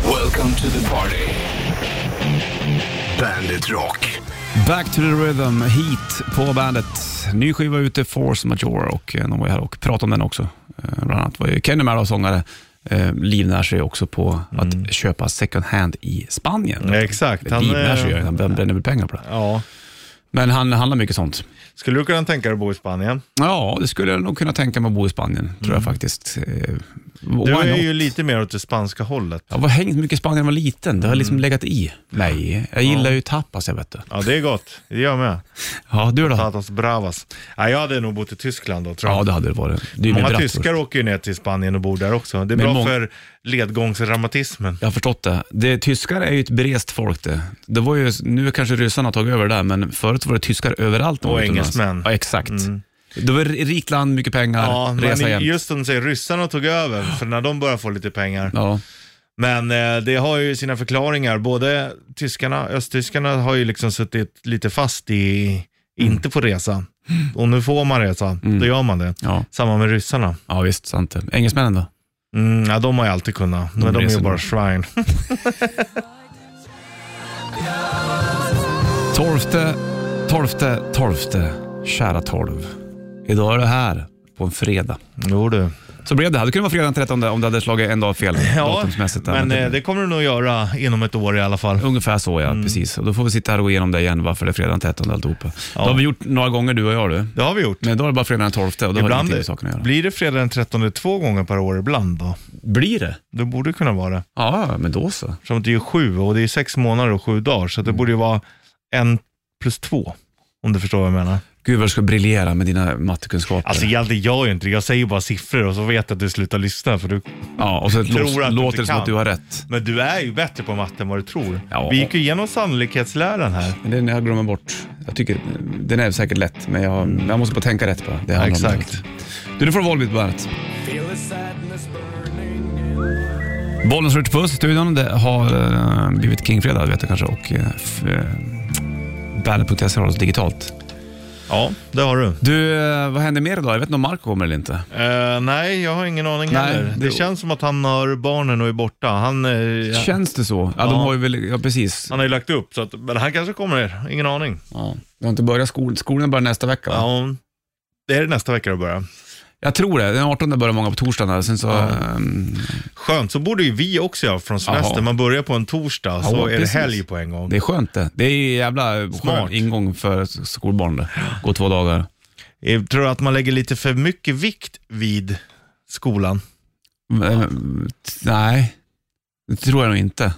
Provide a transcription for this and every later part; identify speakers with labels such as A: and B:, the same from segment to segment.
A: Welcome to the party. Bandit Rock.
B: Back to the rhythm, Heat på bandet. Ny skiva ute, Force Majeure och eh, de var ju här och pratade om den också. Eh, Bland annat var ju Kenny Mello, sångare, eh, livnär sig också på att köpa second hand i Spanien.
C: Mm. Ja, exakt.
B: Han,
C: Han,
B: livnär sig
C: eh,
B: gör han, han bränner väl pengar på det.
C: Ja.
B: Men han handlar mycket sånt.
C: Skulle du kunna tänka dig att bo i Spanien?
B: Ja, det skulle jag nog kunna tänka mig att bo i Spanien, tror jag faktiskt. Eh,
C: Mm. Du
B: why
C: är
B: not?
C: ju lite mer åt det spanska hållet.
B: Jag var hängt mycket i Spanien när jag var liten. Det har
C: Mm.
B: liksom legat i mig. Jag gillar ju tapas, jag vet du.
C: Ja, det är gott. Det gör jag med.
B: Ja, du då?
C: Tatas bravas. Ja, jag hade nog bott i Tyskland då, tror jag.
B: Ja, det hade det varit. Det är ju med
C: Många
B: bratwurst.
C: tyskar åker ju ner till Spanien och bor där också. Det är
B: Men
C: bra
B: mång-
C: för ledgångsreumatismen.
B: Jag har förstått det. det. Tyskar är ju ett berest folk det. det var ju, nu kanske ryssarna har tagit över det där, men förut var det tyskar överallt. när de
C: Och
B: var utomlands.
C: engelsmän. Mm.
B: Ja, exakt. Det var ett rikt land, mycket pengar,
C: Ja,
B: resa
C: men
B: jämt.
C: just som du säger, ryssarna tog över, för när de började få lite pengar.
B: Ja.
C: Men eh, det har ju sina förklaringar. Både tyskarna, östtyskarna har ju liksom suttit lite fast i,
B: Mm.
C: inte på resa. Och nu får man resa, då gör man det.
B: Ja.
C: Samma med ryssarna.
B: ja, visst. Sant det. Engelsmännen då?
C: Mm, ja, de har ju alltid kunnat, men de är
B: reser
C: ju bara
B: nog.
C: shrine.
B: Torfte, torfte, torfte, kära tolv. Idag är du här på en fredag.
C: Jo du.
B: Så blev det. Hade kunnat vara fredag den 13 om det hade slagit en dag fel
C: Ja,
B: datumsmässigt. där,
C: men
B: det-
C: eh, det kommer du nog göra inom ett år i alla fall.
B: Ungefär så ja,
C: mm.
B: precis. Och då får vi sitta här och gå igenom det igen, varför det är fredag den 13 alltihopa. Det har vi gjort några gånger du och jag du.
C: Det har vi gjort.
B: Men då är det bara fredag den 12 och då har det
C: Ibland
B: ingenting med saken att göra.
C: blir det fredag den 13 två gånger per år ibland då.
B: Blir det?
C: Det borde kunna vara det.
B: Ja, men då så.
C: Som det är sju och det är sex månader och sju dagar. Så
B: Mm.
C: det borde ju vara en plus två. Om du förstår vad jag menar.
B: Gud vad du ska briljera med dina mattekunskaper.
C: Alltså egentligen gör jag ju inte det. Jag säger bara siffror och så vet jag att du slutar lyssna. För du...
B: ja, och så
C: tror
B: låter,
C: att du
B: låter det
C: inte
B: som att
C: kan.
B: du har rätt.
C: Men du är ju bättre på matte än vad du tror.
B: Ja.
C: Vi gick ju igenom sannolikhetsläran här.
B: Men den jag glömmer bort. Jag tycker, den är säkert lätt, men jag, jag måste bara tänka rätt på det. det. handlar om
C: Exakt.
B: det. Du, nu får du Volbeat på bandet. Bollens Rich Puss i studion. Det har eh, blivit Kingfredag, du vet du kanske, och eh, f- eh, bandet.se har oss digitalt.
C: Ja, det har du.
B: Du, eh, vad händer mer idag? Jag vet inte om Marco kommer eller inte.
C: Eh, nej, jag har ingen aning
B: Nej,
C: heller. Det...
B: det-
C: känns som att han har barnen och är borta. Han, eh, ja,
B: Känns det så? Ja, de
C: Ja.
B: har ju väl, ja precis.
C: han har ju lagt upp, så att, men han kanske kommer ner. Ingen aning.
B: Ja. De har inte börjat skolan, skolan börjar nästa vecka va?
C: Ja, det är det nästa vecka det börjar.
B: Jag tror det, den 18 börjar många på torsdagen där, sen så... ehm,
C: Skönt, så borde ju vi också göra från semester.
B: Jaha.
C: Man börjar på en torsdag, så
B: Ja,
C: är det
B: precis.
C: helg på en gång.
B: Det är skönt det. Det är ju jävla
C: Smart.
B: skön ingång för skolbarn det. Gå två dagar.
C: Jag Eh, tror att man lägger lite för mycket vikt vid skolan.
B: Mm, t- Nej, det tror jag nog inte.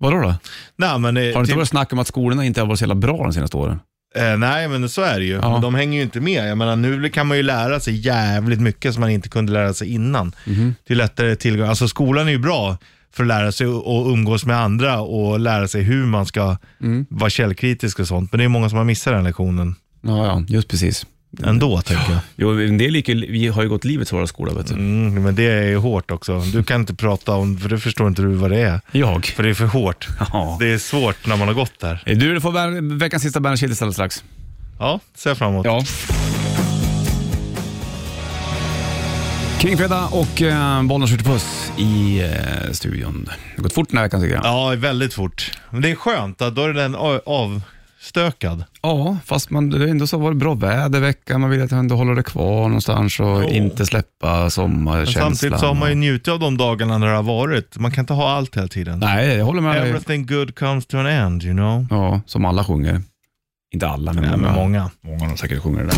B: Vadå då?
C: Mm. Nej, men, eh,
B: Har det inte
C: typ-
B: varit snack om att skolorna inte har varit så jävla bra de senaste åren?
C: eh, nej, men så är det ju.
B: Ja.
C: Men De hänger ju inte med. Jag menar, nu kan man ju lära sig jävligt mycket som man inte kunde lära sig innan.
B: Mhm.
C: Det är lättare tillgång. Alltså skolan är ju bra för att lära sig och umgås med andra och lära sig hur man ska
B: Mm.
C: vara källkritisk och sånt. Men det är många som har missat den lektionen
B: Ja, ja, just precis.
C: ändå, tänker jag.
B: Jo, en del gick ju, vi har ju gått livets hårda skola, vet du.
C: Mm, men det är ju hårt också. Du kan inte prata om, för det förstår inte du vad det är.
B: Jag?
C: För det är för hårt.
B: Ja.
C: Det är svårt när man har gått där.
B: Du, du får bär- veckans sista Bandit Shit alldeles strax.
C: Ja, ser fram emot.
B: Ja. Kingfredag och eh, Bollnäs skjuter puss i eh, studion. Det har gått fort den här veckan tycker jag.
C: Ja, väldigt fort. Men det är skönt, att då är den a- avstökad.
B: Ja, fast man, det är ändå så var det bra väder i veckan. Man vill att jag ändå håller det kvar någonstans och inte släppa
C: Men
B: sommarkänslan.
C: samtidigt så har man ju njutit av de dagarna när det har varit. Man kan inte ha allt hela tiden.
B: Nej, jag håller med dig.
C: Everything good comes to an end, you know.
B: Ja, som alla sjunger. Inte alla, men
C: Nej,
B: många.
C: men många.
B: Många de säkert sjunger det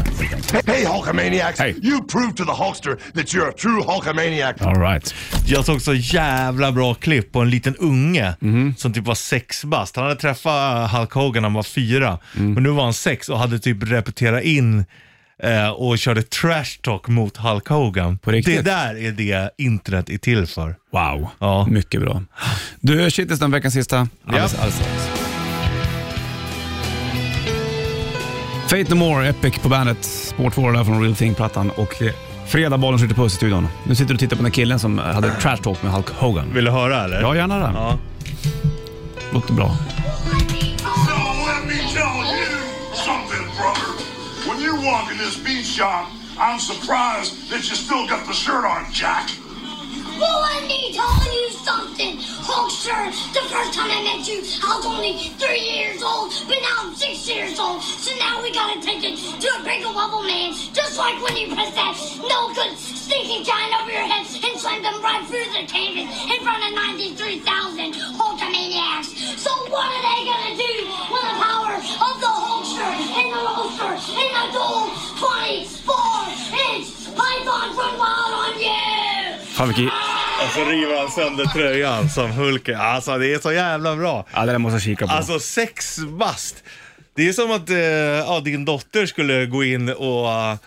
B: där.
A: Hey, Hulkamaniacs!
B: Hey.
A: You proved to the Hulkster that you're a true Hulkamaniac.
B: All right.
C: Jag såg så jävla bra klipp på en liten unge
B: Mhm.
C: som typ var sex bast. Han hade träffat eh, Hulk Hogan när han var fyra,
B: Mm.
C: men nu var han sex och hade typ repeterat in eh, och körde trash talk mot Hulk Hogan.
B: På riktigt?
C: Det där är det internet är till för.
B: Wow,
C: Ja.
B: mycket bra. Du, shitlist den veckans sista. Alldeles,
C: Ja.
B: alldeles strax. Fate No More, Epic på bandet. Spår där från Real Thing-plattan och eh, fredag bollen skjuter puss i studion. Nu sitter du och tittar på den här killen som eh, hade trash talk med Hulk Hogan.
C: Vill du höra eller?
B: Ja, gärna det.
C: Ja.
B: Låter bra.
D: So let me tell you something, brother. When you walk in this bean shop, I'm surprised that you still got the shirt on, Jack.
E: Well, let me tell you something, Hulkster. The first time I met you, I was only three years old, but now I'm six years old. So now we gotta take it to a bigger level, man. Just like when you press that no good stinking giant over your head and slammed them right through the canvas in front of 93,000 Hulkamaniacs. So what are they gonna do when the power of the Hulkster and the Roaster and the gold 24-inch python run wild on you?
B: Fan vilken...
C: Och så river han sönder tröjan som Hulken. Alltså det är så jävla bra.
B: Ja, det där måste jag kika på.
C: Alltså sex bast. Det är som att eh, ja, din dotter skulle gå in och, eh,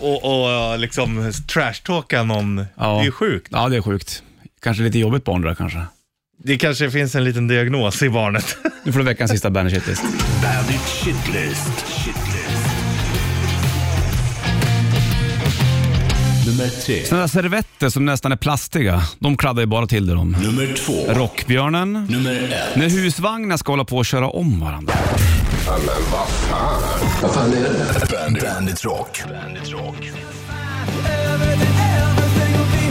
C: och, och liksom trashtalka någon.
B: ja.
C: Det är sjukt.
B: Ja, det är sjukt. Kanske lite jobbigt barn det där kanske.
C: Det kanske finns en liten diagnos i barnet.
B: Nu får du veckans sista Bandage Hitlist.
F: Bandit Shitlist. Shitlist. Nummer tre.
B: Sådana där servetter som nästan är plastiga, de kladdar ju bara till det de.
F: Nummer två.
B: Rockbjörnen.
F: Nummer ett.
B: När husvagnar ska hålla på och köra om varandra.
F: Bandit. Bandit Rock. Bandit Rock.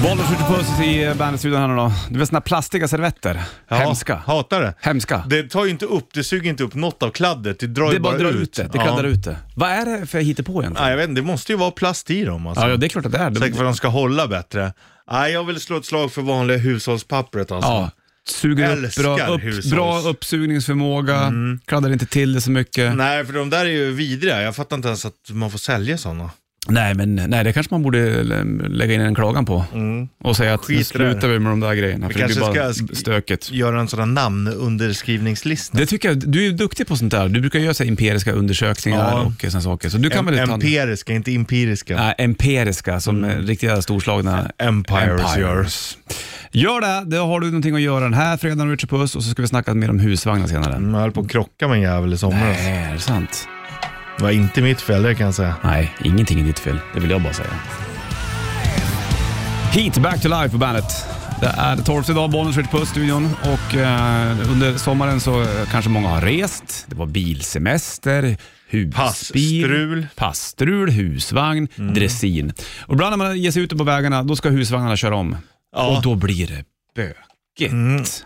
B: Bollen skjuter puss i bandetstudion här nu då. Du vet sådana plastiga servetter. Hemska.
C: Hatar det.
B: Hemska.
C: Det tar ju inte upp, det suger inte upp något av kladdet. Det drar
B: Det
C: ju
B: bara
C: bara,
B: drar ut
C: ut
B: det. Det kladdar ut det. Vad är det för hittepå egentligen?
C: Nej, jag vet inte, det måste ju vara plast i dem alltså.
B: Ja, ja, det är klart att det är.
C: Säkert för
B: Det,
C: att de ska hålla bättre. Nej, jag vill slå ett slag för vanliga hushållspappret alltså.
B: ja, suger upp
C: Älskar
B: bra, upp,
C: hushålls. Mm.
B: bra uppsugningsförmåga, kladdar inte till det så mycket. Nej,
C: Nej, för de där är ju vidriga. Jag fattar inte ens att man får sälja sådana.
B: men nej, det kanske man borde lä- lägga in en klagan på och säga att nu
C: Mm. Skit i det här.
B: slutar vi med de där grejerna, för det blir
C: kanske
B: bara
C: ska sk-
B: stökigt.
C: Göra en sån här namnunderskrivningslista.
B: Det tycker jag, du är ju duktig på sånt där. Du brukar göra så här empiriska undersökningar
C: Ja.
B: och sådana saker. Så du kan väl ta en-
C: Empiriska, inte empiriska.
B: Nej, Äh, empiriska som mm. riktiga storslagna
C: Empires
B: empires. Gör det, då har du någonting att göra den här fredagen Richard Puss och så ska vi snacka mer om husvagnar senare.
C: Mm, Jag höll på att krocka med en jävel i somras.
B: Nej, är det sant?
C: Det var inte mitt fel, det kan jag säga.
B: Nej, ingenting är ditt fel. Det vill jag bara säga. Heat, Back to Life på bandet. Det är 12 idag, Bollnäs Richard Puss studion och eh, under sommaren så eh, kanske många har rest. Det var bilsemester, husbil,
C: Passstrul. Mm.
B: passstrul, husvagn, dressin. Och ibland när man ger sig ut på vägarna, då ska husvagnarna köra om.
C: Ja. Mm.
B: Och då blir det bökigt.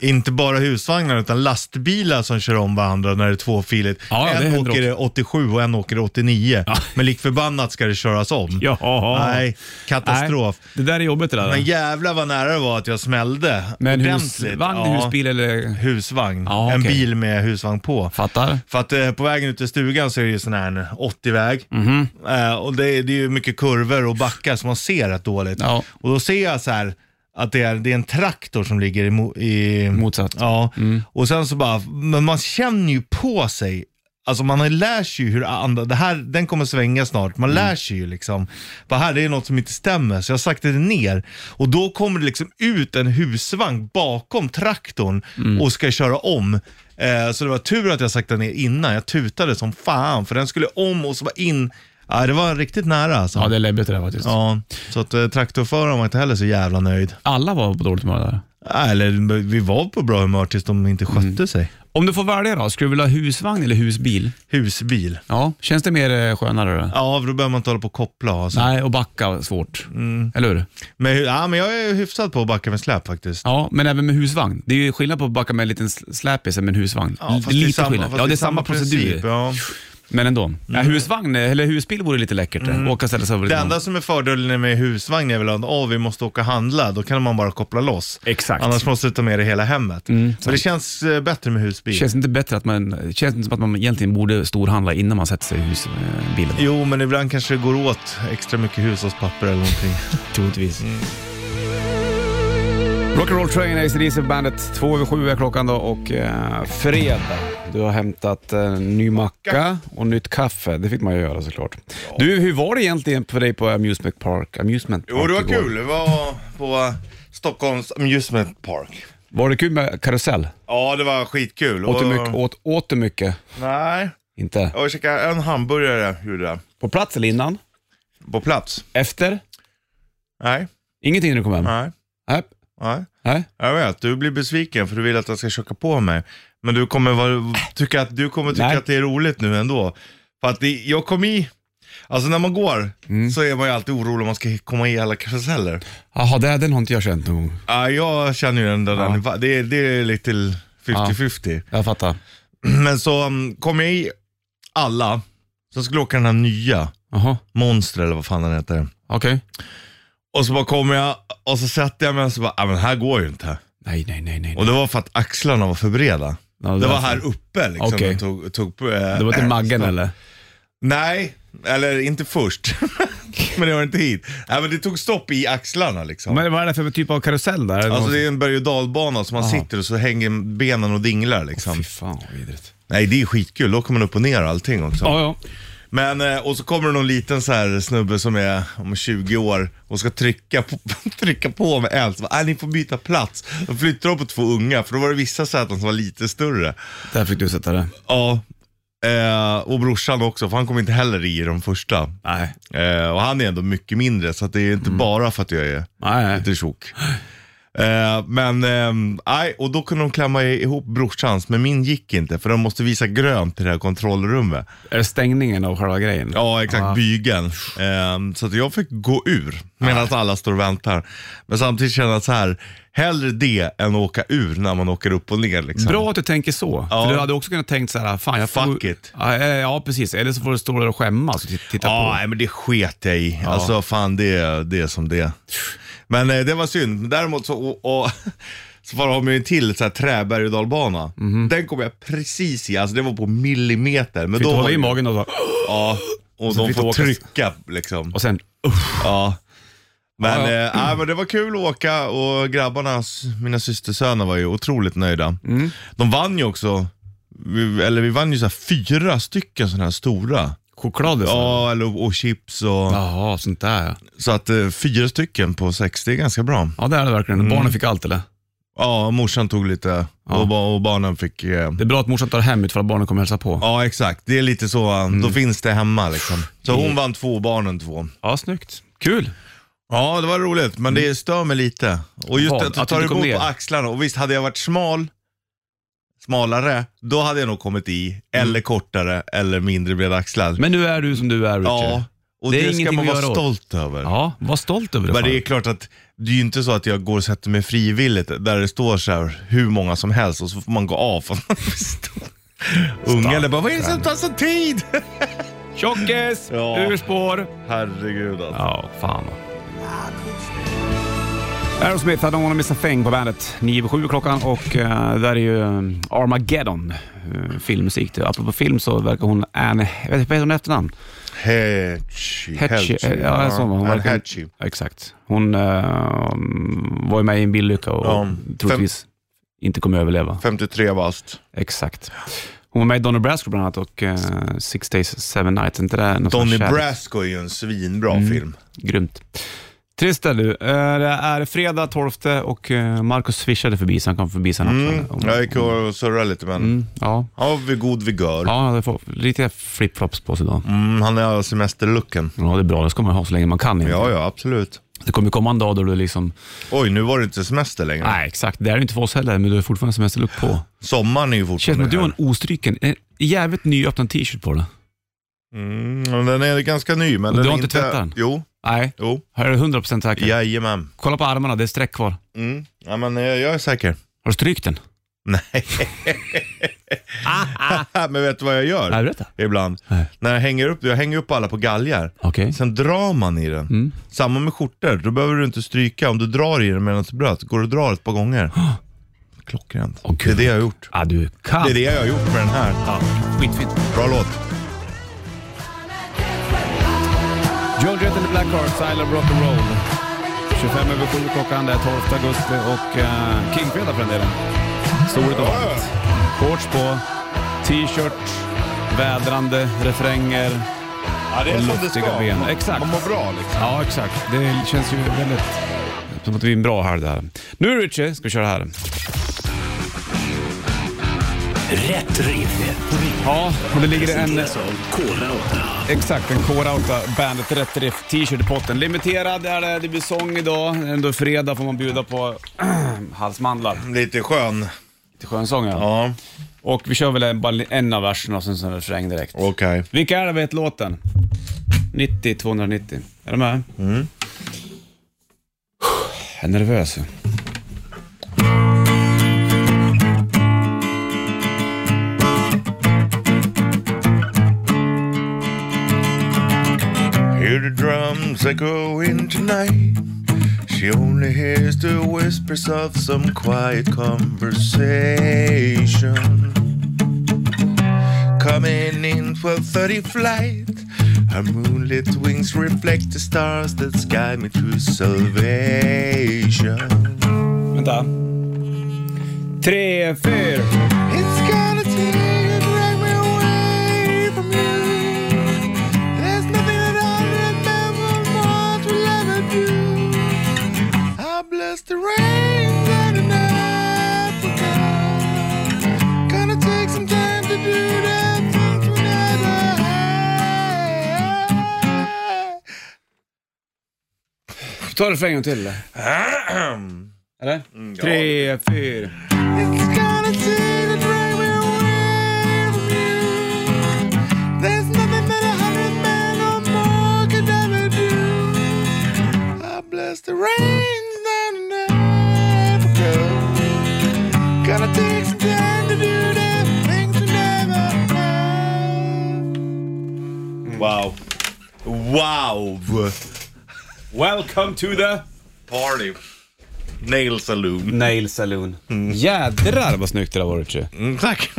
C: Inte bara husvagnar utan lastbilar som kör om varandra när det är tvåfiligt.
B: Ja, det
C: en
B: händer
C: åker det 87 och en åker det 89.
B: Ja.
C: Men lik förbannat ska det köras om.
B: Ja.
C: Nej, katastrof.
B: Nej, det där är jobbigt det där.
C: Men jävlar vad nära det var att jag smällde
B: Men
C: ordentligt.
B: husvagn,
C: Ja.
B: husbil eller...
C: Husvagn.
B: Ja,
C: En
B: okej.
C: bil med husvagn på.
B: Fattar.
C: För att eh, på vägen ut till stugan så är det ju sån här en 80-väg.
B: Mhm.
C: Eh, och det, är- det är ju mycket kurvor och backar som man ser rätt dåligt.
B: Ja.
C: Och då ser jag så här att det är, det är en traktor som ligger i... mo- i
B: Motsatt.
C: Ja,
B: Mm.
C: och sen så bara, men man känner ju på sig, alltså man har- lär sig ju hur andra, det här, den kommer svänga snart, man
B: Mm.
C: lär sig ju liksom, bara här det är något som inte stämmer, så jag saktade ner och då kommer det liksom ut en husvagn bakom traktorn
B: Mm.
C: och ska köra om. Eh, så det var tur att jag saktade ner innan, jag tutade som fan för den skulle om och så var in, ja det var riktigt nära alltså.
B: Ja,
C: Ja,
B: det är läbbigt det där faktiskt.
C: så att eh, traktorföraren var inte heller så jävla nöjd.
B: Alla var på dåligt humör där.
C: Äh, Eller vi var på bra humör tills de inte skötte
B: Mm.
C: sig.
B: Om du får välja då, skulle du vilja ha husvagn eller husbil?
C: Husbil.
B: Ja. Känns det mer eh, skönare då?
C: Ja, för då behöver man inte hålla på och koppla. Alltså.
B: Nej, och backa svårt. Eller hur?
C: Men, hu- ja, men jag är hyfsad på att backa med släp faktiskt.
B: Ja, men även med husvagn. Det är ju skillnad på att backa med en liten sl- släpis än med en husvagn.
C: Ja, fast
B: det är lite skillnad.
C: fast
B: Ja, det är samma, procedur.
C: princip, ja.
B: Men ändå. Ja, husvagn, eh, eller husbil vore lite läckert. Mm. Åka och ställa sig över
C: Det
B: lite
C: enda som är fördelen med husvagn är väl att åh, vi måste åka och handla, då kan man bara koppla loss.
B: Exakt. Mm,
C: Annars måste du ta med det hela hemmet. men det känns eh, bättre med husbil.
B: Känns det inte bättre att man, känns det inte som att man egentligen borde storhandla innan man sätter sig i husbilen?
C: Jo, men ibland kanske det går åt extra mycket hushållspapper eller någonting. Mm.
B: Troligtvis. Rock'n'Roll Train, ACDC bandet. Två över sju är klockan då och eh, fredag. Du har hämtat eh, ny macka och nytt kaffe. Det fick man ju göra såklart. Du, hur var det egentligen för dig på Amusement Park? Amusement Park
C: Jo, det var
B: igår?
C: kul. Det var på Stockholms Amusement Park.
B: Var det kul med karusell?
C: Ja, det var skitkul.
B: Åt du
C: Och-
B: mycket? Åt, åt du mycket?
C: Nej,
B: Inte?
C: jag käkade en hamburgare gjorde jag.
B: På plats eller innan?
C: På plats.
B: Efter?
C: Nej,
B: Ingenting när du kom hem?
C: nej,
B: Nej.
C: nej.
B: Nej.
C: Jag vet, du blir besviken för du vill att jag ska tjocka på mig. Men du kommer, vara, tycka, att, du kommer tycka
B: Nej.
C: att det är roligt nu ändå. För att det, jag kom i, Alltså när man går så är man ju alltid orolig om man ska komma i alla karuseller.
B: Jaha, det- den har inte jag känt någon gång.
C: Ja, jag känner ju den där, den, va- det, är- det är lite 50-50.
B: Jag fattar.
C: Men så um, kom jag i alla, så skulle jag åka den här nya,
B: Jaha,
C: Monster eller vad fan den heter.
B: okej.
C: Och så bara kom jag och så satte jag mig och så bara, ah, men här går ju inte.
B: Nej, nej, nej, nej.
C: Och det var för att axlarna var för breda.
B: Ja, det var
C: det var
B: så.
C: här uppe liksom.
B: Okej.
C: jag Tog, tog, på, eh,
B: Det var till Maggen
C: så-
B: eller?
C: Nej, eller inte först. men det var inte hit. Nej, men det tog stopp i axlarna liksom.
B: Men vad är det för typ av karusell där?
C: Alltså det är en berg och dalbana som man sitter och så hänger benen och dinglar liksom.
B: Fy fan vad vidrigt.
C: Nej det är skitkul, då kommer man upp och ner och allting också.
B: Ja, ja.
C: Men, eh, och så kommer det någon liten så här snubbe som är om 20 år och ska trycka på, trycka på med eld. Så bara, "Ah, ni får byta plats. Då flyttar de på två unga, för då var det vissa säten som var lite större.
B: Där fick du sätta det.
C: Ja, eh, och brorsan också, för han kom inte heller i de första.
B: Nej.
C: Eh, och han är ändå mycket mindre, så att det är inte bara för att jag är
B: Mm. Nej, nej.
C: lite tjock. Eh, men, ehm, nej, och då kunde de klämma i- ihop brorsans, men min gick inte, för de måste visa grönt till det här kontrollrummet.
B: Är det stängningen av själva grejen?
C: Ja, exakt. Bygeln. Ehm, så att jag fick gå ur medan alla står och väntar. Men samtidigt känner jag så här, hellre det än att åka ur när man åker upp och ner. Liksom.
B: Bra att du tänker så.
C: Ja.
B: För du hade också kunnat tänkt så här, fan jag får...
C: Fuck it.
B: Ja, eh, ja, precis. Eller så får du stå där och skämmas och t- titta
C: Ja,
B: på.
C: nej, men det sket jag i. Alltså fan, det, det är som det är. Men eh, det var synd. Men Däremot så, och, och, så har man ju till så här träberg och dalbana. Den kom jag precis i, alltså det var på millimeter. Men
B: Mhm. Fick
C: då
B: du hålla i
C: ju-
B: magen och så,
C: Ja, och
B: Så
C: de
B: fick du
C: får
B: åka-
C: trycka liksom.
B: och sen... Uff.
C: Ja. Men,
B: Ja,
C: Eh, nej, men det var kul att åka och grabbarna, s- mina systersöner var ju otroligt nöjda. De vann ju också, vi, eller vi vann ju så här fyra stycken sådana här stora.
B: Choklad och så.
C: Ja, eller, och chips och...
B: Jaha, sånt där ja.
C: Så att eh, fyra stycken på sex, det är ganska bra.
B: Ja, det är det verkligen.
C: Mm.
B: Barnen fick allt eller?
C: Ja, morsan tog lite och, ba- och barnen fick... Eh,
B: Det är bra att morsan tar hem ifall barnen kommer hälsa på.
C: ja, exakt. Det är lite så, eh, då finns det hemma liksom. Så hon vann två och barnen två.
B: Ja, snyggt. Kul.
C: Ja, det var roligt, men det stör mig lite. Och just
B: Mm. Vad?
C: att du
B: Att du
C: tar
B: inte kom
C: emot
B: ner?
C: på axlarna. Och visst, hade jag varit smal, smalare, då hade jag nog kommit i. Eller kortare, eller mindre breda axlar.
B: Mm. Men nu är du som du är, Richard.
C: ja, och
B: Det är
C: det, ska
B: ingenting
C: man
B: att
C: vara
B: göra åt.
C: stolt över.
B: Ja, var stolt över det.
C: Men
B: fan.
C: det är klart att det är ju inte så att jag går och sätter mig frivilligt där det står så här hur många som helst och så får man gå av för att man är stor. Unga eller bara, vad är det som tar sån tid?
B: Tjockis!
C: Ja.
B: Ur spår!
C: Herregud alltså.
B: Ja, fan. Aerosmith, I don't wanna miss a thing på bandet. 9 7 klockan och eh, där är ju eh, Armageddon, uh, filmmusik. Apropå film så verkar hon Anne, vad heter hon i efternamn?
C: Hetchy.
B: Hetchy. eh, Ja, så, hon
C: Han
B: verkar-
C: Hetchy.
B: Exakt. Hon eh, var ju med i en bilolycka och
C: Ja.
B: troligtvis inte kommer överleva.
C: 53 bast.
B: Exakt. Hon var med i Donny Brasco bland annat och eh, Six Days, Seven Nights. Är Inte det någon
C: Donny
B: sån kärlek- Mm.
C: Brasco är ju en svinbra film.
B: Grymt. Trist är du. Eh, Det är fredag 12 och eh, Marcus swishade förbi så han kom förbi sen
C: Mm.
B: också. Om-
C: Jag gick och surrade lite men
B: Mm, ja.
C: han var vid god vigör.
B: Ja, han hade fått riktiga flipflops på sig idag.
C: Mm, han är semesterlooken.
B: Ja, det är bra. Det ska man ha så länge man kan. egentligen.
C: Ja, ja, absolut.
B: Det kommer komma en dag då du liksom...
C: Oj, nu var det inte semester längre.
B: Nej, exakt. Det är det inte för oss heller, men du har fortfarande semesterlook på.
C: Sommaren är ju
B: Känns som
C: fortfarande
B: att du har
C: här.
B: en ostryken, en jävligt nyöppnad t-shirt på dig.
C: Mm, men den är ganska ny. Men
B: Du
C: den
B: har
C: är
B: inte tvättat den?
C: Jo,
B: Nej,
C: jo.
B: här är du 100% säker.
C: Jajamän.
B: Kolla på armarna, det är streck kvar.
C: Mm. Ja, men eh, jag är säker.
B: Har du strykt den?
C: Nej. men vet du vad jag gör?
B: Nej, berätta.
C: Ibland.
B: Nej.
C: När jag hänger upp, jag hänger upp alla på galgar.
B: Okej.
C: Sen drar man i den.
B: Mm.
C: Samma med skjortor, då behöver du inte stryka. Om du drar i den medan du bröt, går du och drar ett par gånger. Klockrent.
B: Åh,
C: det är
B: gud.
C: det jag har gjort.
B: Ah, du kan.
C: Det är det jag har gjort med den här.
B: Skitfint.
C: Bra låt.
B: Georgette and the Black Hearts, I love rock and roll. 25 över 7 klockan, det är 12 augusti och uh, Kingfredag för den delen. Storligt och varmt. Shorts på, t-shirt, vädrande, refränger.
C: Ja, det
B: är som det Luftiga ska. ben. Exakt. Man mår
C: bra liksom.
B: Ja, exakt. Det känns ju väldigt... Som att vi är en bra helg det här. Nu Richie, ska vi köra här.
F: Rätt riff.
B: Ja, och det ligger en...
F: Presenteras av Kora
B: Exakt, en K-Rauta Bandet Rätt Riff t-shirt i potten. Limiterad är det, det blir sång idag. Ändå fredag får man bjuda på halsmandlar.
C: Lite skön.
B: Till skönsång ja.
C: Ja,
B: Och vi kör väl en, bara en av verserna och sen så en refräng direkt.
C: okej.
B: Vilka är det vi vet låten? 90 290. Är du med? Mm. Jag är nervös.
C: Hear the drums echoing tonight. She only hears the whispers of some quiet conversation. Coming in 12:30 flight, her moonlit wings reflect the stars that guide me to salvation.
B: Vänta. Tre, fyra.
C: It's gonna take and drag me away from you. There's nothing that I remember more to love of you. I bless the rain that in Africa. Gonna take some time to do that thing to another.
B: Ta det för en gång till. eller? Eller? Tre, fyra.
C: It's gonna take and drag me away from you. There's nothing that a hundred men or more could ever do. I bless the rains down in Africa. Gotta take some time to do the things we never have. Wow. Wow.
B: Welcome to the...
C: Party. Nail saloon.
B: Nail Saloon. Jädrar vad snyggt det där var Richie.
C: tack.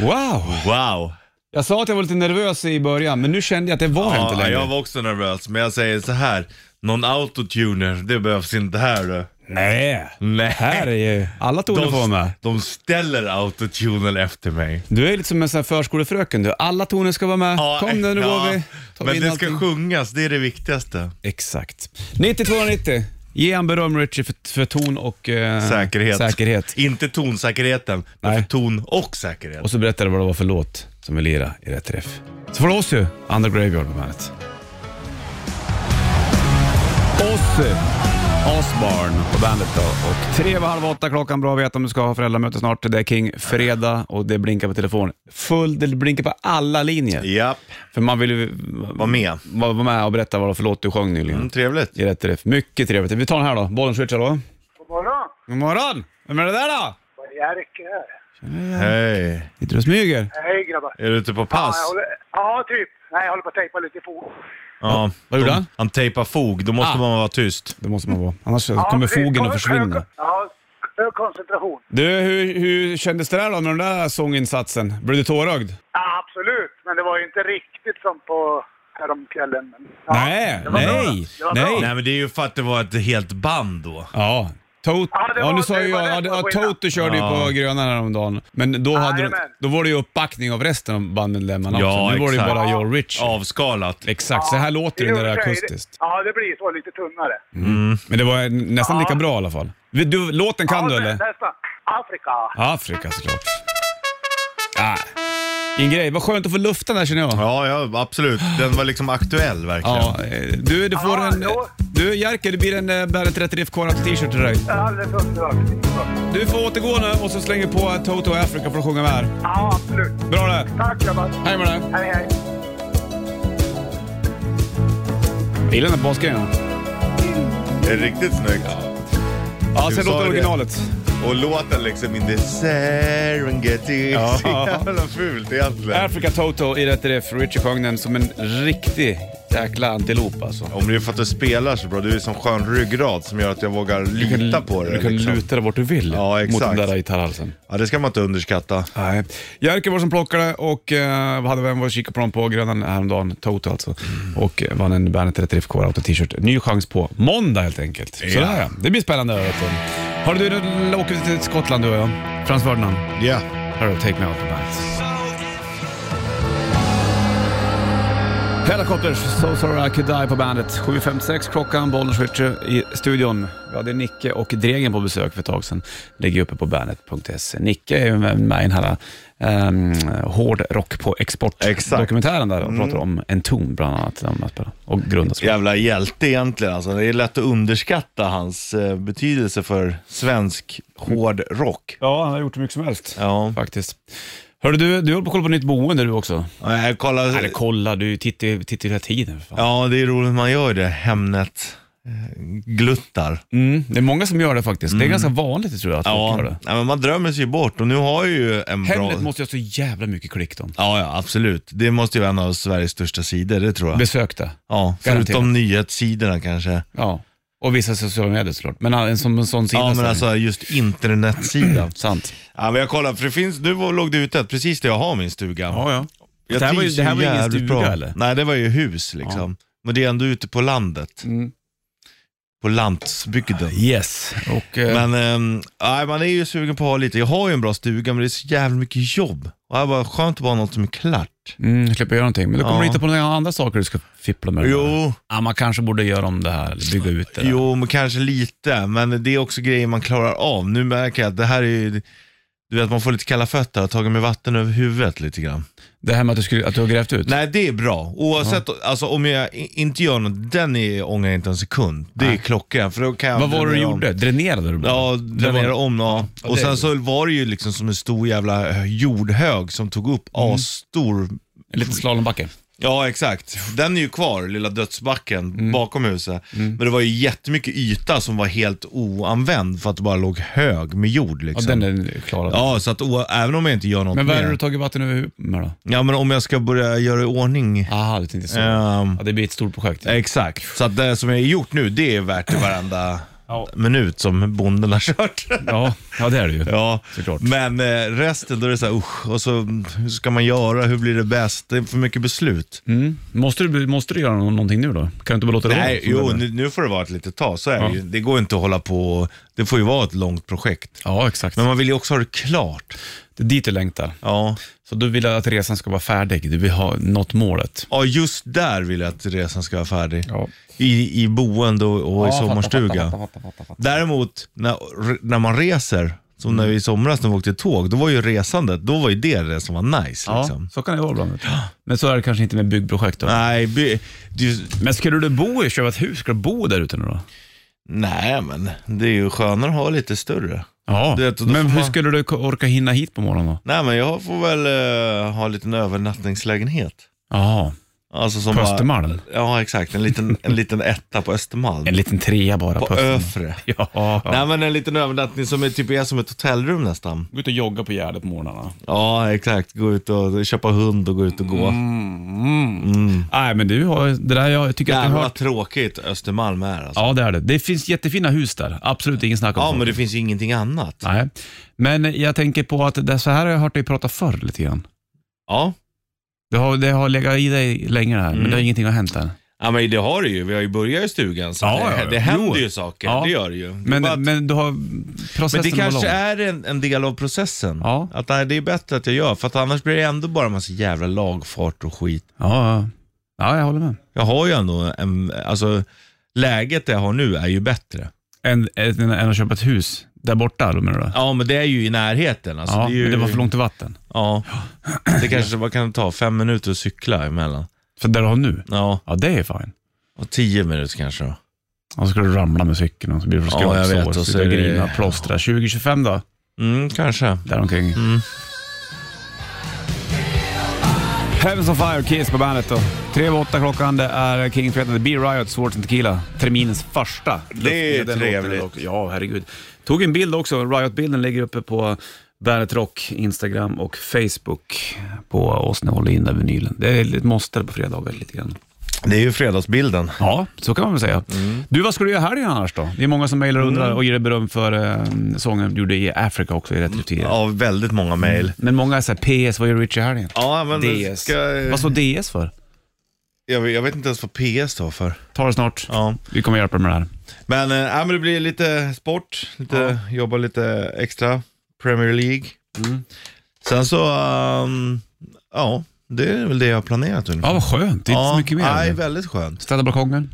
B: Wow!
C: Wow.
B: Jag sa att jag var lite nervös i början, men nu kände jag att det var inte längre.
C: jag var också nervös, men jag säger så här. Någon autotuner, det behövs inte här du.
B: Nej.
C: Nej.
B: Här är ju alla toner får vara med.
C: de ställer autotunen efter mig.
B: Du är lite som en sån här förskolefröken du. Alla toner ska vara med. Kom nu, nu
C: ja.
B: går vi. Tar vi
C: Men
B: in
C: det
B: allting.
C: ska sjungas, det är det viktigaste.
B: Exakt. 9290. Ge han beröm Richie för, för ton och eh,
C: Säkerhet.
B: säkerhet.
C: Inte tonsäkerheten, men
B: Nej.
C: för ton och säkerhet.
B: Och så berättade du vad det var för låt som vi lirade i rätt träff. Så får du oss ju, Under Graveyard på bandet. Ozzy, Osbarn på bandet då. Och tre över halv åtta klockan, bra att veta om du ska ha föräldramöte snart. Det är King Fredag och det blinkar på telefon. Full, det blinkar på alla linjer.
C: Japp,
B: För man vill ju
C: var med.
B: vara var med och berätta vad det var för låt du sjöng nyligen.
C: Mm, trevligt.
B: I rätt träff. Mycket trevligt. Vi tar den här då. Bollen switchar då.
G: morgon.
B: God morgon! Vem är det där då?
G: Vad är Jerker här?
C: Hej.
B: Sitter du och smyger?
G: Hej grabbar.
C: Är du ute på
G: Ja, jag
C: pass?
G: håller, ja, typ. Nej, jag håller på att tejpa lite fot.
C: Ja.
B: Vad gjorde
C: de-
B: han?
C: Han tejpar fog, då måste
B: Ah.
C: man vara tyst.
B: Det måste man vara. Annars kommer
G: precis.
B: fogen
G: Hög-
B: att försvinna.
G: hög- Ja, hög koncentration.
B: Du, hur, hur kändes det där då med den där sånginsatsen? Blev du tårögd?
G: Ja, absolut. Men det var ju inte riktigt som på häromkvällen. Men, ja,
B: nej,
G: det var
B: nej,
G: bra. Det var
B: nej.
G: bra.
C: Nej men det är ju för att det var ett helt band då.
B: Ja. Tot,
G: Ja,
B: ja,
G: det var-
B: nu sa
G: det
B: ju
G: var
B: jag,
G: det
B: ja,
G: som
B: det-
G: var
B: ja,
G: skillnaden.
B: Toto körde ju
C: Ja.
B: på Gröna häromdagen. Men då, hade,
G: Jajamän.
B: då var det ju uppbackning av resten av bandmedlemmarna
C: Ja,
B: också. Nu var det ju
C: exakt.
B: bara jag och Rich.
C: Avskalat.
B: Exakt, så här låter det när det är
G: i och för sig-
B: akustiskt.
G: Ja, det blir så. Lite tunnare.
B: Men det var nästan
G: Ja.
B: lika bra i alla fall. Vi- Du, låten kan
G: ja,
B: du
G: nä-
B: eller?
G: Nästan. Afrika.
B: Afrika såklart. Ah. Ingen grej. Vad skönt att få lufta där känner jag.
C: Ja, ja absolut. Den var liksom aktuell verkligen.
B: Ja, eh, du, du får
G: Ja,
B: en... eh,
G: då-
B: Du, Jerker, det blir en eh, Bandet 30 FK t-shirt till dig.
G: Alldeles underbart.
B: Du får återgå nu och så slänger vi på eh, Toto Africa för att sjunga med här.
G: Ja, absolut.
B: Bra det!
G: Tack grabbar.
B: Hej med dig!
G: Hej, hej.
B: Jag gillar den här basgrejen.
C: Det är riktigt snyggt.
B: Ja, sen
C: Du sa
B: låter
C: det.
B: originalet.
C: Och låten liksom in the Serengeti.
B: Ja.
C: Så jävla fult egentligen.
B: Africa Toto i rätt riff. Richie sjöng den som en riktig jäkla antilop alltså.
C: Om det är för att du spelar så bra, du är som skön ryggrad som gör att jag vågar lita på det.
B: Du kan
C: liksom.
B: luta dig vart du vill
C: Ja,
B: mot
C: exakt.
B: den där gitarrhalsen.
C: Ja, det ska man inte underskatta.
B: Nej. Jerker var som plockade och eh, hade vem var och kikade på dem på Grönan häromdagen, Toto alltså. Och eh, vann en Bandet 30 FK Auto t-shirt. Ny chans på måndag helt enkelt. Sådär ja. Det blir spännande. Vet du. Har du, nu åker vi till Skottland du och jag. Frans Ferdinand.
C: Ja.
B: Här då, Take Me Out på Bandet. Helicopters, So Sorry I Could Die på bandet. 7.56 klockan, Bollnäs Richard i studion. Vi hade Nicke och Dregen på besök för ett tag sedan. Ligger uppe på bandet.se. E. Nicke är ju med i den här um, Hård rock på
C: Exakt.
B: export-dokumentären där och pratar om en ton bland annat. som han spelar. Och grundas på.
C: Jävla hjälte egentligen alltså. Det är lätt att underskatta hans eh, betydelse för svensk hård rock.
B: Ja, han har gjort hur mycket som helst.
C: Ja.
B: Faktiskt. Hörru du, du håller på att kolla på nytt boende du också.
C: Ja, Jag kollar,
B: Eller kolla, du tittar ju tittar ju hela tiden. för Fan.
C: ja, det är roligt man gör det. eh, Hemnet-gluttar.
B: Mm, det är många som gör det faktiskt. Det är ganska vanligt tror jag att folk gör
C: Mm. Ja,
B: det.
C: nej, men man drömmer sig ju bort och nu har jag ju en bra...
B: Hemnet måste ju ha så jävla mycket klick om.
C: Ja, ja, absolut. Det måste ju vara en av Sveriges största sidor, det tror jag.
B: Besökta.
C: ja,
B: garanterat.
C: förutom nyhetssidorna kanske.
B: Ja. Och vissa sociala medier såklart. Men en, som en sån sida.
C: Ja, men
B: så-
C: alltså just internetsidan.
B: Sant.
C: ja, men jag kollar, för det finns, nu låg det ute ett, precis där jag har min stuga.
B: ja.
C: Jag
B: Det här var ju-
C: trivs
B: det här var ju ingen
C: jävligt
B: stuga, eller?
C: Nej, det var ju hus liksom. Men det är ändå ute på landet.
B: Mm.
C: På landsbygden.
B: Yes. Och, eh,
C: Men ehm, nej, man är ju sugen på att ha lite. Jag har ju en bra stuga men det är så jävligt mycket jobb. Och det var skönt att bara ha något som är klart.
B: mm, slipper göra någonting. Men du kommer
C: Ja.
B: hitta på några andra saker du ska fippla med.
C: Jo,
B: Ja, man kanske borde göra om det här eller bygga ut det. där.
C: jo men kanske lite. Men det är också grejer man klarar av. Nu märker jag att det här är ju, du vet man får lite kalla fötter. Jag har tagit med vatten över huvudet lite grann.
B: Det här med att du, skulle, att du har grävt ut.
C: Nej, det är bra. Oavsett, alltså om jag i- inte gör något, den är, ångrar jag inte en sekund. Det är klockan. För då kan jag
B: Vad var det du
C: dränera om.
B: gjorde? Dränerade du? bara?
C: Ja,
B: Det var-
C: dränera om. Ja. Och sen så var det ju liksom som en stor jävla eh, jordhög som tog upp
B: Mm.
C: asstor
B: En liten slalombacke.
C: Ja, exakt. Den är ju kvar, lilla dödsbacken
B: Mm.
C: bakom huset. Men det var ju jättemycket yta som var helt oanvänd för att det bara låg hög med jord.
B: Ja,
C: Liksom.
B: den är klarad.
C: Ja, så att o- även om jag inte gör något
B: Men vad är det
C: mer.
B: du tagit vatten över huvudet med då?
C: Ja, men om jag ska börja göra i ordning.
B: Aha, du tänkte så.
C: Ehm,
B: Ja, det blir ett stort projekt.
C: exakt. Så att det som jag har gjort nu, det är värt det varenda
B: Ja.
C: minut som bonden har kört.
B: Ja, ja det är det ju.
C: Ja,
B: Såklart.
C: men eh, resten då är det så här, usch, och så mm, hur ska man göra, hur blir det bäst? Det är för mycket beslut.
B: Mm. Måste, du, måste du göra nå- någonting nu då? Kan du inte bara låta det
C: Nej,
B: vara?
C: jo, nu, nu får det vara ett litet tag. Så är det ju. Det går inte att hålla på. Det får ju vara ett långt projekt.
B: Ja, exakt.
C: Men man vill ju också ha det klart.
B: Det är dit du längtar.
C: Ja,
B: Så du vill att resan ska vara färdig. Du vill ha nått målet.
C: ja just där vill jag att resan ska vara färdig.
B: Ja.
C: I, I boende och, och i sommarstuga.
B: Fatta, fatta, fatta.
C: Däremot, när, när man reser, som när vi i somras när vi åkte tåg, då var ju resandet, då var ju det det som var nice.
B: Ja,
C: Liksom.
B: så kan det vara ibland. Men så är det kanske inte med byggprojekt då.
C: Nej, by, du,
B: Men skulle du bo i, köpa ett hus, ska du bo där ute nu då?
C: nej, men det är ju skönare att ha lite större.
B: Ja,
C: Du vet, då
B: men
C: får
B: hur
C: man-
B: skulle du ko- orka hinna hit på morgonen då?
C: Nej, men jag får väl eh, ha en liten övernattningslägenhet.
B: Jaha,
C: Alltså som
B: på
C: bara-
B: Östermalm?
C: Ja, exakt. En liten, en liten etta på Östermalm.
B: En liten trea bara.
C: på
B: Östermalm.
C: Öfre.
B: Ja. ja.
C: Nej, men en liten övernattning som är typ är som ett hotellrum nästan.
B: Gå ut och jogga på Gärdet på morgnarna.
C: Ja, exakt. Gå ut och köpa hund och gå ut och gå.
B: Nej, men du har, det där jag tycker att du
C: Jävlar
B: har...
C: vad tråkigt Östermalm är alltså. Ja,
B: Ja, det är det. Det finns jättefina hus där. Absolut ingen snack om
C: men det finns ju ingenting annat.
B: Nej, men jag tänker på att det, så här har jag hört dig prata förr lite grann.
C: Ja.
B: Det har, det har legat i dig länge det här, men det har ingenting har hänt än.
C: ja, men Mm. det har det ju. Vi har ju börjat i stugan så
B: Ja,
C: det,
B: ja, ja.
C: det händer
B: Jo.
C: ju saker.
B: Ja.
C: Det gör det ju. Det är
B: Men,
C: bara att-
B: men du har processen
C: men det
B: var
C: kanske
B: lång.
C: är en, en del av processen.
B: Ja.
C: Att nej, det är bättre att jag gör, för att annars blir det ändå bara en massa jävla lagfart och skit.
B: Ja, ja. ja, jag håller med.
C: Jag har ju ändå en, alltså läget jag har nu är ju bättre.
B: Än, än, än att köpa ett hus där borta, då menar du?
C: Ja, men det är ju i närheten. Alltså,
B: ja,
C: det är ju,
B: men det var för långt till vatten.
C: Ja, det kanske bara kan ta fem minuter att cykla emellan.
B: För där du har nu?
C: Ja,
B: Ja, det är fine.
C: och tio minuter kanske då.
B: Och så ska du ramla med cykeln och så blir det
C: Ja, jag vet,
B: skrapsår,
C: och så
B: sitta och
C: är det-
B: grina, plåstra. 20-25 då,
C: Mm, kanske.
B: däromkring. Heavens on Fire, Kiss på bandet då. Tre över åtta klockan, det är King Fredag, The B-Riot, Swords and Tequila. Terminens första.
C: Det är
B: Den låten
C: trevligt.
B: dock. Ja, herregud. Tog en bild också, Riot-bilden ligger uppe på Bandet Rock, Instagram och Facebook på oss när vi håller in den vinylen. Det är ett måste på fredagar lite grann.
C: Det är ju fredagsbilden.
B: Ja, så kan man väl säga.
C: Mm.
B: Du, vad ska du göra här annars då? Det är många som mejlar och undrar och ger dig beröm för eh, sången du gjorde i Afrika också i rätt rutin.
C: Ja, väldigt många mejl.
B: Men många säger PS, vad gör Richie i helgen?
C: Mm. Ja, men
B: DS.
C: Ska, eh,
B: Vad står DS för?
C: jag, jag vet inte ens vad PS står för.
B: Ta det snart.
C: Ja.
B: Vi kommer hjälpa dig med det här.
C: Men, äh, men det blir lite sport, lite, jobba lite extra, Premier League. Mm. Sen så, ehm, ja, det är väl det jag har planerat ungefär.
B: Ja, vad skönt. Det är inte så mycket mer.
C: Nej, väldigt skönt.
B: Städa balkongen.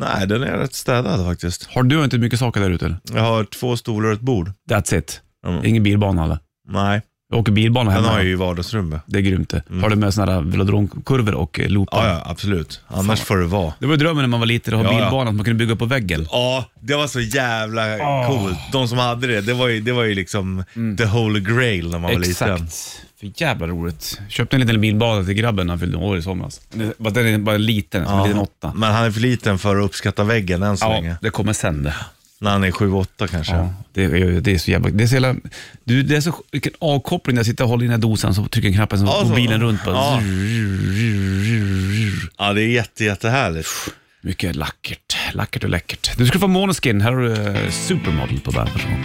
C: Nej, den är rätt städad faktiskt.
B: Har du inte mycket saker där ute? eller?
C: Jag har två stolar och ett bord.
B: That's it.
C: Mm.
B: Ingen bilbana eller?
C: Nej.
B: Jag åker bilbana
C: Den har
B: hemma.
C: jag ju i vardagsrummet.
B: Det är grymt det. Har du med sådana här eh, velodromkurvor och eh, loopar?
C: Ja, ja, absolut. Annars får det vara.
B: Det var ju drömmen när man var liten, att ha
C: Ja, ja.
B: bilbana som man kunde bygga upp på väggen.
C: Ja, det var så jävla
B: Ah.
C: coolt. De som hade det, det var ju, det var ju liksom the holy grail när man var liten.
B: Mm. Exakt. För jävla roligt. Köpte en liten bilbana till grabben när han fyllde år i somras. Det- bara- Den är bara liten, som en liten åtta.
C: Men han är för liten för att uppskatta väggen än Mm. så
B: Ja,
C: länge.
B: det kommer sen det.
C: När han är 7-8 kanske.
B: Ja, det, är- det är så jävla... Det är så jävla du, det är så, vilken avkoppling när jag sitter och håller i den här dosan så trycker jag knappen så
C: Ja,
B: går
C: så-
B: bilen runt. Bara,
C: Ja. Ja, det är jätte, jättehärligt.
B: Mycket lackert. Lackert och läckert. Du ska få Måneskin. Här har du eh, Supermodel på bandet. Varsågod.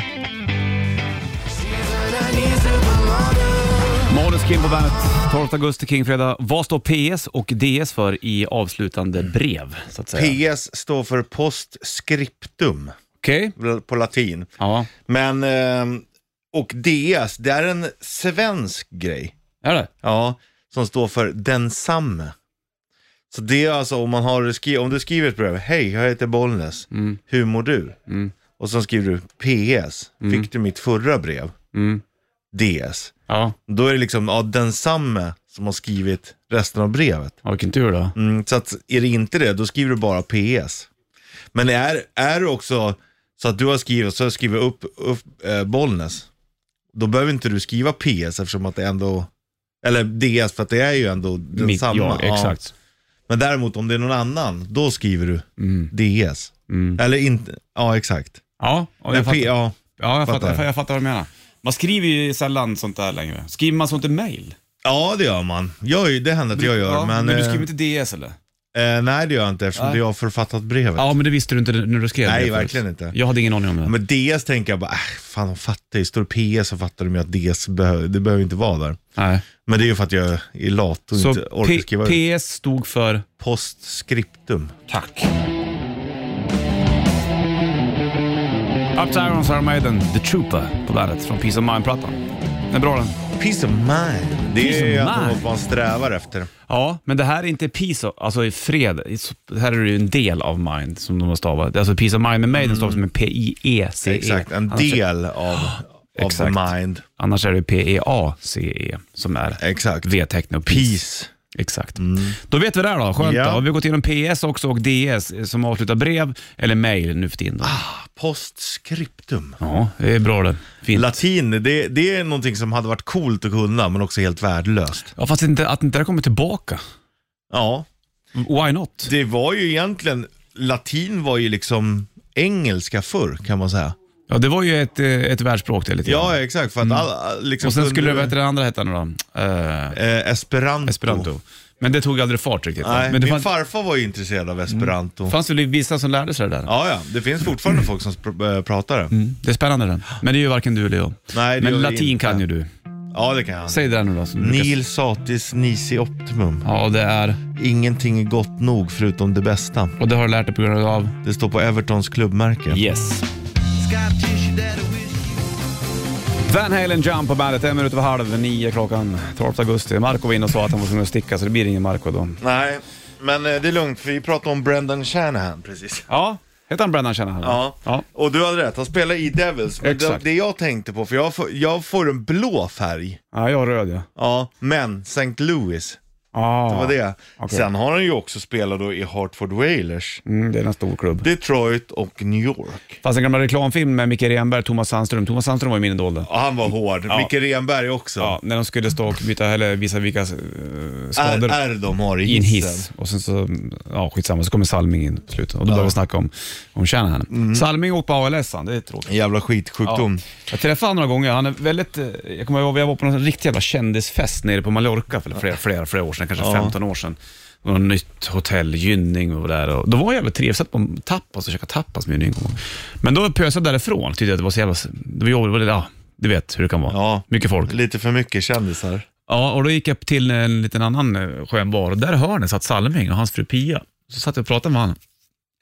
B: Måneskin på bandet. 12 augusti, Kingfredag. Vad står PS och DS för i avslutande brev? Så att säga?
C: PS står för postscriptum
B: Okej.
C: på latin.
B: Ja,
C: Men, ehm, och DS, det är en svensk grej.
B: är det?
C: Ja, som står för densamme. Så det är alltså om man har skri- om du skriver ett brev, hej jag heter Bollnäs, hur mår du? Och sen skriver du PS, fick du mitt förra brev?
B: Mm.
C: DS.
B: Ja,
C: Då är det liksom ja, densamme som har skrivit resten av brevet.
B: ja vilken tur då.
C: Mm, så att, är det inte det, då skriver du bara PS. Men är, är det också så att du har skrivit, så skriver upp, upp eh, Bollnäs, då behöver inte du skriva PS eftersom att det ändå, eller DS för att det är ju ändå
B: Mitt
C: densamma.
B: jag,
C: Ja.
B: exakt.
C: Men däremot om det är någon annan, då skriver du
B: Mm.
C: DS. Eller inte, ja exakt.
B: Ja, och
C: Men
B: jag
C: P,
B: fattar.
C: ja.
B: Ja, jag fattar,
C: Fattar.
B: jag fattar vad du menar. Man skriver ju sällan sånt där längre. Skriver man sånt i mail?
C: ja, det gör man. Jag, det händer att jag gör,
B: ja,
C: men,
B: du
C: eh,
B: skriver inte DS eller?
C: eh, nej det gör jag inte eftersom
B: Nej.
C: jag har författat brevet.
B: Ja, men det visste du inte när du skrev
C: Nej,
B: det. förut.
C: verkligen inte.
B: Jag hade ingen aning om det.
C: Ja, Men DS tänker jag bara, äh, fan de fattar ju. Står det PS så fattar de ju att DS behöver, det behöver inte vara där.
B: Nej.
C: Men det är ju för att jag är lat och
B: Så
C: inte orkar
B: P-
C: skriva ut.
B: PS stod för?
C: Postscriptum.
B: Tack. Up to Irons Iron Maiden, The Trooper på bandet från Peace of Mind-plattan. Den är bra den.
C: Peace of mind. Det
B: Peace
C: är
B: of
C: ju ändå
B: mind.
C: vad man strävar efter.
B: Ja, men det här är inte Peace of, alltså i fred. Det här är det ju en del av Mind som de har stavat. Alltså Peace of Mind med Maiden stavas som en P-I-E-C-E.
C: Mm. Exakt, en
B: E. Annars-
C: del av, av the
B: alltså- Exakt.
C: mind.
B: Annars är det E P-E-A-C-E som är
C: Exakt.
B: V-tecknet och peace.
C: Peace.
B: Exakt. Då vet vi det här då, skönt
C: Mm. Ja.
B: då. Och Vi har gått igenom PS också och DS eh, som avslutar brev eller mail nu för tiden. Då.
C: Ah. Postscriptum.
B: Ja, det är bra det. Fint.
C: Latin, det, det är någonting som hade varit coolt att kunna men också helt värdelöst.
B: ja, fast inte, att inte det här kommer tillbaka.
C: Ja, Mm.
B: Why not?
C: det var ju egentligen, latin var ju liksom engelska förr kan man säga.
B: Ja, det var ju ett, eh, ett världsspråk det lite
C: Ja,
B: grann.
C: exakt. För att alla,
B: Mm.
C: liksom,
B: Och sen
C: kunde
B: skulle det,
C: du-
B: vad heter det andra hette nu då? Eh,
C: eh, Esperanto.
B: Esperanto. Men det tog aldrig fart riktigt.
C: Oh. Nej,
B: Men det Mm.
C: min
B: fanns,
C: farfar var ju intresserad av esperanto.
B: fanns väl vissa som lärde sig det där?
C: Ja, ja. Det finns fortfarande folk som spr- eh, pratar det.
B: Mm, det är spännande den. Men det är ju varken du eller jag.
C: Nej, det
B: Men
C: gör jag
B: latin
C: inte.
B: kan ju du.
C: Ja, det kan jag.
B: Säg det där nu då. som du brukar-
C: Nil satis nisi optimum.
B: Ja, det är...
C: Ingenting är gott nog förutom det bästa.
B: Och det har du lärt dig på grund av?
C: Det står på Evertons klubbmärke.
B: Yes. Van Halen Jump på bandet, en minut över halv nio klockan 12 augusti. Marco var inne och sa att han var tvungen att sticka, så det blir ingen Marco då.
C: Nej, men eh, det är lugnt för vi pratade om Brendan Shanahan precis.
B: Ja, heter han Brennan känner han?
C: Ja.
B: ja.
C: och du hade rätt. Han spelar i Devils. Men det,
B: Exakt.
C: det jag tänkte på, för jag får, jag får en blå färg.
B: Ja, jag har röd ja.
C: Ja, men St. Louis.
B: Ah.
C: Det var det.
B: okej.
C: Sen har han ju också spelat då i Hartford Whalers,
B: Mm, det är en stor klubb.
C: Detroit och New York.
B: Fast en gammal reklamfilm med Micke Renberg, Thomas Sandström. Thomas Sandström var ju min idol då.
C: Och han var hård. Micke Renberg också.
B: Ja, när de skulle stå och byta, eller visa vilka eh, skador.
C: Är, är de har i
B: i en
C: hissen.
B: hiss. Och sen så, ja skitsamma, så kommer Salming in på slutet och då börjar vi snacka om, om Shanahan.
C: Mm.
B: Salming åkte på ALS han, det är tråkigt.
C: En jävla skitsjukdom.
B: Jag träffade honom några gånger, han är väldigt, eh, jag kommer ihåg, jag var på någon riktig jävla kändisfest nere på Mallorca för flera, flera, flera år sedan, kanske 15 år sedan. Det var något nytt hotell, Gynning och där. Och då var jag jävligt trevlig, satt på en tapas och käkade tapas med Gynning. en gång. Men då pösade jag därifrån, tyckte jag att det var så jävla, det var jobbigt, det var- ja, du vet hur det kan vara.
C: Ja.
B: Mycket folk.
C: Lite för mycket kändisar.
B: Ja, och då gick jag till en liten annan eh, skön bar och där i hörnet satt Salming och hans fru Pia. Så satt jag och pratade med honom.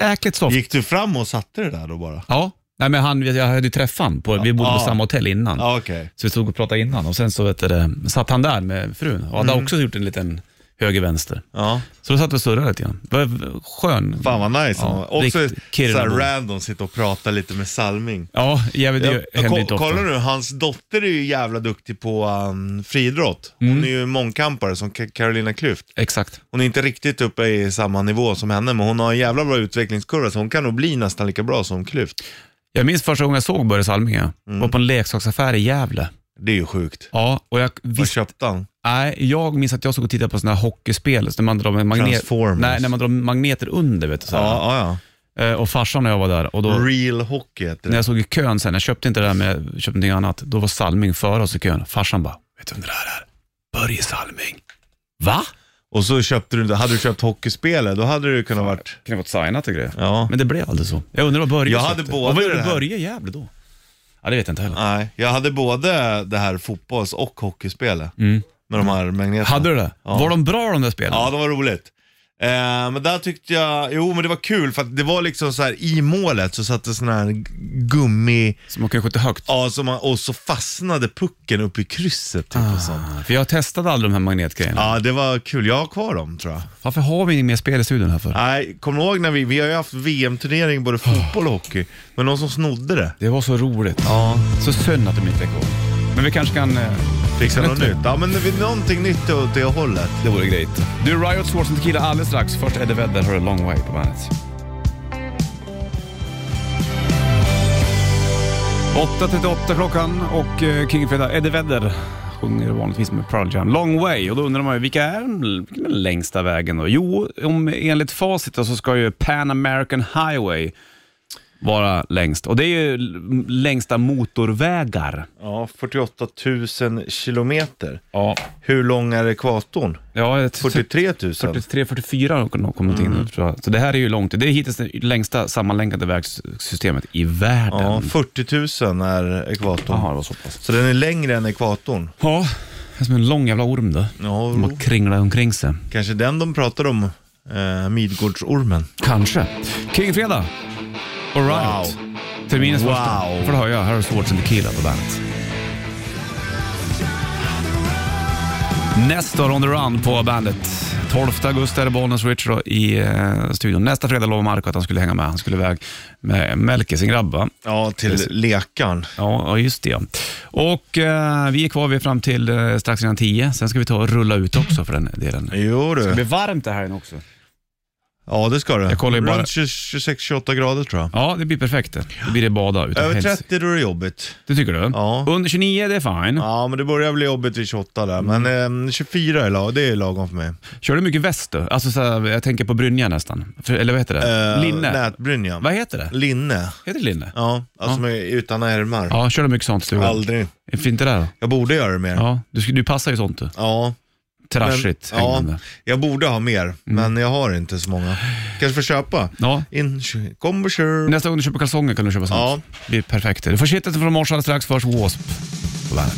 B: Jäkligt soft.
C: Gick du fram och satte det där då bara?
B: Ja, Nej, men han, jag hade ju träffat honom, på, vi bodde på
C: Ja.
B: samma hotell innan.
C: Ja, okej. Mm.
B: Så vi stod och pratade innan och sen så vet du, det, satt han där med frun och hade också gjort en liten höger, vänster.
C: Ja.
B: Så då satt jag och surrade lite grann. Det var skön.
C: Fan vad nice
B: Ja,
C: han var. Också
B: riktigt Kirunabo.
C: såhär random, sitta och prata lite med Salming.
B: Ja, jag vet, det
C: Jag-
B: händer
C: ko-
B: inte ofta.
C: Kollar du, hans dotter är ju jävla duktig på um, friidrott.
B: Mm.
C: Hon är ju mångkampare som Ka- Carolina Klüft.
B: Exakt.
C: Hon är inte riktigt uppe i samma nivå som henne, men hon har en jävla bra utvecklingskurva så hon kan nog bli nästan lika bra som Klüft.
B: Jag minns första gången jag såg Börje Salminge.
C: Mm.
B: var på en leksaksaffär i Gävle.
C: Det är ju sjukt.
B: Ja, och jag
C: Vad
B: visste
C: köpte han?
B: Nej, jag minns att jag såg och tittade på sådana här hockeyspel, så när man drar med magnet,
C: Transformers.
B: nej, när man drar magneter under. Vet du, så här.
C: Ja, ja,
B: Eh, Och farsan och jag var där och då,
C: ja. Real hockey heter
B: när
C: det.
B: jag såg i kön sen, jag köpte inte det där men jag köpte någonting annat, då var Salming före oss i kön. Farsan bara, vet du vem det där är? Börje Salming. Va?
C: Och så köpte du inte, hade du köpt hockeyspelet, då hade du kunnat varit...
B: Kan det varit signat och grejer?
C: Ja.
B: Men det blev aldrig så. Jag undrar vad Börje
C: Jag hade
B: köpte.
C: båda
B: Och vad gjorde
C: det här.
B: Börje i Gävle då? Ja, det vet jag inte heller.
C: Nej, jag hade både det här fotbolls och hockeyspelet. Med de här magneterna.
B: Mm. Hade du det?
C: Ja.
B: Var de bra de där spelen?
C: Ja, det var roligt. Eh, men där tyckte jag, jo men det var kul för att det var liksom så här i målet så satt det sån här gummi,
B: Som man kan skjuta högt.
C: ja, som man, och så fastnade pucken uppe i krysset typ och sånt.
B: För jag testade aldrig de här magnetgrejerna.
C: Ja, det var kul. Jag har kvar dem tror jag.
B: Varför har vi inget mer spel i studion här för?
C: Nej, kommer du ihåg när vi, vi har ju haft VM-turnering både fotboll och hockey, men någon som snodde det.
B: Det var så roligt.
C: Ja.
B: Så synd att de inte är kvar. Men vi kanske kan... eh,
C: Fixa något
B: nytt.
C: nytt. Ja, men det blir någonting nytt åt det hållet.
B: Det vore grejt. Du, Riot Swords and Tequila alldeles strax. Först Eddie Vedder, har A Long Way på bandet. 8.38 klockan och eh, King Fredag, Eddie Vedder sjunger vanligtvis med Pearl Jam. Long Way och då undrar man ju vilka är den vilken är den längsta vägen då? Jo, om, enligt facit då, så ska ju Pan American Highway vara längst och det är ju l- längsta motorvägar.
C: Ja, 48 000 kilometer.
B: Ja,
C: Hur lång är ekvatorn?
B: ja jag tror-
C: 43 000?
B: 43-44 kom kom någonting
C: Mm.
B: nu tror jag. Så det här är ju långt. Det är hittills det längsta sammanlänkade vägsystemet i världen.
C: Ja, 40 000 är ekvatorn.
B: Jaha, det var så pass.
C: Så den är längre än ekvatorn.
B: Ja, det är som en lång jävla orm då.
C: Ja,
B: Som har kringlat omkring sig.
C: kanske den de pratar om, eh, Midgårdsormen.
B: Kanske. Kingfredag och Riot.
C: Wow.
B: Terminens
C: Wow.
B: första. får du höja. Här har Swords and Tequila på bandet. Nästa år on the run på bandet. 12 augusti är det Bollnäs Richard då i eh, studion. Nästa fredag lovade Marco att han skulle hänga med. Han skulle iväg med Melke, sin grabb va?
C: Ja, till lekan.
B: Ja, ja, just det. Och eh, vi är kvar vi är fram till eh, strax innan tio. Sen ska vi ta och rulla ut också för den delen.
C: Jo du.
B: varmt det här också.
C: Ja, det ska du.
B: Jag kollar ju bara-
C: Runt 26-28 grader tror jag.
B: Ja, det blir perfekt. det. Då blir det bada utav
C: Över
B: helsike.
C: 30 då är det jobbigt.
B: Det tycker du?
C: Ja.
B: Under 29, det är fine.
C: Ja, men det börjar bli jobbigt vid 28 där.
B: Mm.
C: Men eh, 24 är lag, det är lagom för mig.
B: Kör du mycket väst då? Alltså så här, jag tänker på brynja nästan. För, eller vad heter det?
C: Eh,
B: linne?
C: Nätbrynja.
B: Vad heter det?
C: Linne.
B: Heter det linne?
C: Ja, alltså
B: Ja.
C: Med, utan ärmar.
B: Ja, kör du mycket sånt i stugan?
C: Aldrig.
B: Är inte det där då?
C: Jag borde göra det mer.
B: Ja, du, sk- du passar ju sånt du.
C: Ja, men-
B: Trashigt
C: ja,
B: hängande. Mm.
C: jag borde ha mer, men jag har inte så många. Kanske får köpa.
B: Ja.
C: In, kom och kör.
B: Nästa gång du köper kalsonger kan du köpa sånt.
C: Ja.
B: Det blir perfekt. Du får kittet från morse alldeles strax. Först W.A.S.P. på bandet.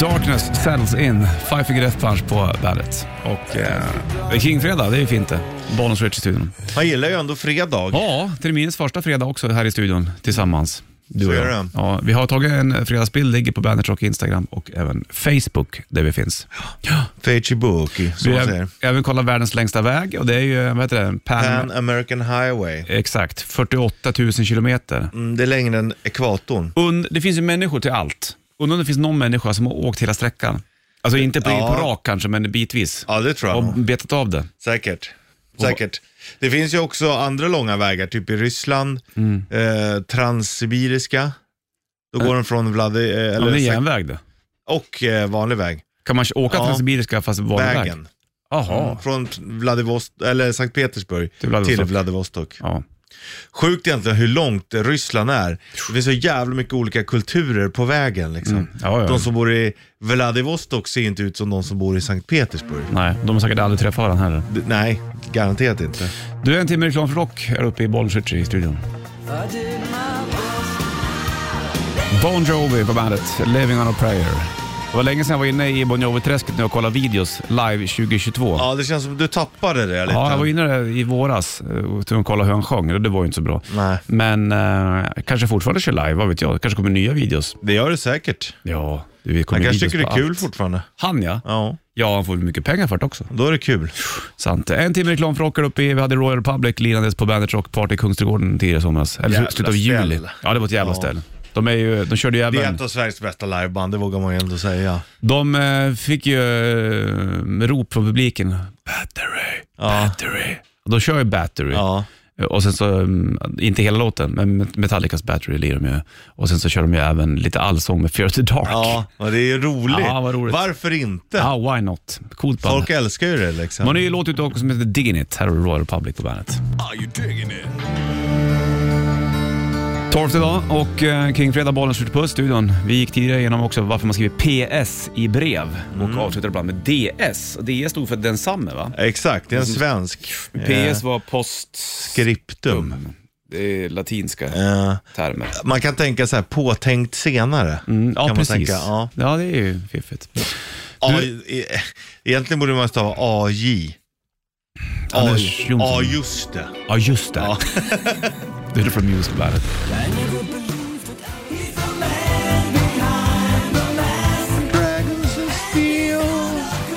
B: Darkness settles in. Five Finger Death Punch på bandet. Och eh, det är Kingfredag, det är ju fint det. Bonus Rich i studion.
C: Man gillar ju ändå fredag.
B: Ja, terminens första fredag också här i studion tillsammans. Du
C: Så
B: och
C: är
B: jag.
C: det.
B: Ja, vi har tagit en fredagsbild, ligger på Bandit Rock Instagram och även Facebook där vi finns. Ja.
C: Facebook, som
B: Vi
C: man
B: har
C: säger.
B: även kollat världens längsta väg och det är ju, vad heter det, Pan,
C: Pan American Highway.
B: Exakt, 48 000 kilometer.
C: Mm, det är längre än ekvatorn.
B: Und, det finns ju människor till allt. Undrar om det finns någon människa som har åkt hela sträckan. Alltså inte på,
C: Ja.
B: på rak kanske, men bitvis.
C: Ja, det tror jag
B: Och
C: nog.
B: betat av det.
C: Säkert. Säkert. Det finns ju också andra långa vägar, typ i Ryssland,
B: Mm.
C: eh, transsibiriska. Då går den från Vladi... Eh,
B: Ja, det är
C: eller
B: järnväg det.
C: och eh, vanlig väg.
B: Kan man åka
C: Ja.
B: transsibiriska fast vanlig väg?
C: Vägen. Mm.
B: Jaha.
C: Från Vladivostok, eller Sankt Petersburg
B: Till Vladivostok.
C: till Vladivostok.
B: Ja.
C: Sjukt egentligen hur långt Ryssland är. Det finns så jävla mycket olika kulturer på vägen. Liksom.
B: Ja, Mm. ja.
C: De som bor i Vladivostok ser inte ut som de som bor i Sankt Petersburg.
B: Nej, de har säkert aldrig träffat varandra heller.
C: D- nej, garanterat inte.
B: Du, en timme reklam för rock här uppe i Bollswitch i studion. Bon Jovi på bandet, Living on a prayer. Det var länge sedan jag var inne i Bon Jovi-träsket nu och kollade videos live 2022.
C: Ja, det känns som du tappade det lite.
B: Ja, jag var inne där i våras eh, och tog och kollade hur han sjöng och det var ju inte så bra.
C: Nej.
B: Men eh, kanske fortfarande kör live, vad vet jag. Det kanske kommer nya videos.
C: Det gör det säkert.
B: Ja, du vet, kommer
C: Han kanske
B: videos
C: tycker det
B: på
C: är kul
B: allt.
C: fortfarande.
B: Han ja.
C: Ja,
B: Ja, han får väl mycket pengar för det också.
C: då är det kul.
B: Sant. En timme reklam för Åker uppe i, vi hade Royal Republic lirandes på Bandit Rock Party i Kungsträdgården tidigare i somras. Eller
C: Jävla
B: slutet av juli.
C: ställe.
B: Ja, det var ett jävla
C: Ja.
B: ställe. De, är ju, de körde ju
C: Det är
B: även...
C: ett av Sveriges bästa liveband, det vågar man ju ändå säga.
B: De eh, fick ju eh, rop från publiken. Battery, battery. Och de kör ju battery.
C: Ja.
B: Och sen så, mm, inte hela låten, men Metallicas battery lirar de ju. Och sen så kör de ju även lite allsång med Fear to Dark.
C: Ja, och det är ju roligt.
B: Ja, vad roligt.
C: Varför inte?
B: Ah, why not? Coolt band.
C: Folk älskar ju det liksom.
B: De har en ny låt ute också som heter Diggin' It. Här har du Royal Republic på bandet.
F: Are you digging it?
B: Torft idag och eh, kring fredag bollen skjuter på studion. Vi gick tidigare igenom också varför man skriver PS i brev och
F: Mm.
B: avslutar ibland med DS. Och DS stod för densamme va?
C: Exakt, det är en svensk. eh,
B: PS var post...
C: Skriptum.
B: Det är latinska
C: Eh,
B: termer.
C: man kan tänka så här, påtänkt senare.
B: Mm, ja,
C: kan
B: precis.
C: Man tänka, ja.
B: ja, det är ju fiffigt.
C: A- e- Egentligen borde man stava AJ.
B: Anders Jonsson.
C: Ja, just det.
B: Ja, just det.
C: Ja.
B: det är från Music Bandet.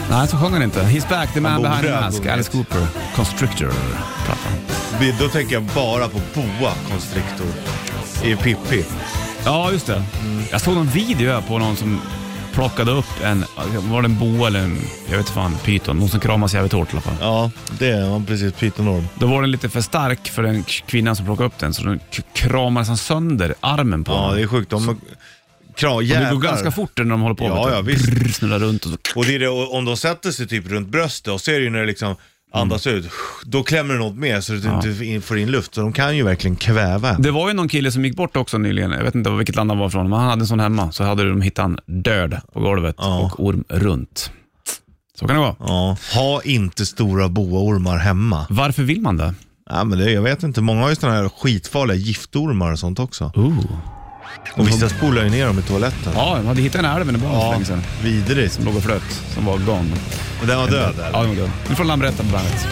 B: Nej, så sjöng han inte. He's back, the man
C: Han borde
B: behind the
C: ha
B: mask.
C: sjungit.
B: Alice Cooper, Constrictor. plattan.
C: Vi- Då tänker jag bara på boa constrictor i Pippi.
B: Ja, just det.
C: Mm.
B: Jag såg någon video här på någon som plockade upp en, var det en boa eller en, jag vet fan, pyton. Någon som kramas jävligt hårt i alla fall.
C: Ja, det är han precis. Pytonorm.
B: Då var den lite för stark för den k- kvinnan som plockade upp den, så den k- kramades han sönder armen på
C: Ja,
B: honom.
C: det är sjukt. De kram,
B: Och det
C: jävlar.
B: går ganska fort när de håller på
C: Ja,
B: vet du.
C: ja, visst.
B: Brrr, snurrar runt och så.
C: Och det är det, och om de sätter sig typ runt bröstet och så är det ju när det liksom andas
B: Mm.
C: ut, då klämmer det något med så att du inte in- får in luft. Så de kan ju verkligen kväva en.
B: Det var ju någon kille som gick bort också nyligen. Jag vet inte vilket land han var från, men han hade en sån hemma. Så hade de hittat han död på golvet
C: Ja.
B: och orm runt. Så kan det vara.
C: Ja, ha inte stora boaormar hemma.
B: Varför vill man det?
C: Ja, men det, jag vet inte, många har ju sådana här skitfarliga giftormar och sånt också.
B: Ooh.
C: Och vissa spolar ju ner dem i toaletten.
B: Ja, de hade hittat en älv nu bara för
C: Ja,
B: länge sedan.
C: vidrigt.
B: Som låg och flöt, som var gone.
C: Och den var död eller?
B: Ja, den var död. Nu får Lambretta på bandet.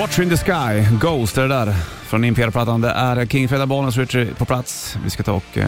B: Watcher in the Sky, Ghost är det där. Från Imperiet-plattan. Det är King Fredag Bollnäs Richard på plats. Vi ska ta och eh,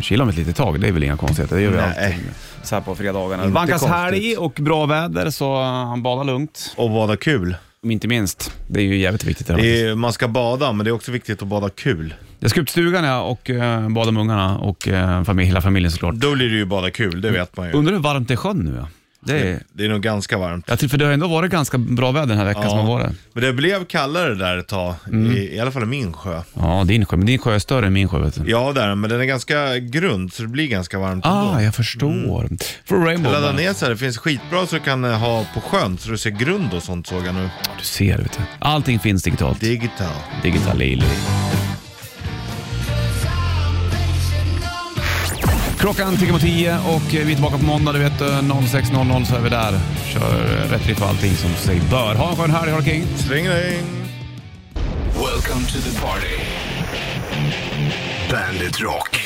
B: chilla om ett litet tag. Det är väl inga konstigheter. Det gör vi
C: Nej.
B: alltid så här på fredagarna.
C: Inte
B: Vankas
C: konstigt.
B: helg och bra väder så han badar lugnt.
C: Och bada kul.
B: Om inte minst. Det är ju jävligt viktigt. Det här.
C: Det är, man ska bada, men det är också viktigt att bada kul.
B: Jag ska upp till stugan ja, och eh, bada med ungarna och eh, familj, hela familjen såklart.
C: Då blir det ju bada kul, det vet man ju.
B: Undrar hur varmt det är i sjön nu ja. Det är...
C: Det är nog ganska varmt.
B: Jag tycker, för det har ändå varit ganska bra väder den här veckan som har varit.
C: Men det blev kallare där ett tag, i, i alla fall i min sjö.
B: Ja, din sjö. Men din sjö är större än min sjö vet du.
C: Ja, där, men den är ganska grund så det blir ganska varmt
B: Ah,
C: ändå.
B: jag förstår.
C: Mm.
B: För Rainbow.
C: Ladda ner så här, det finns skitbra så du kan eh, ha på sjön så du ser grund och sånt såg jag nu.
B: Du ser, vet du. Allting finns digitalt.
C: Digital.
B: Digital är illa. Klockan tickar mot 10 och vi är tillbaka på måndag. Du vet, eh, 06.00 så är vi där. Kör eh, rätt riff och allting som sig bör. Ha en skön helg, har King.
C: Strängling!
F: Welcome to the party. Bandit Rock.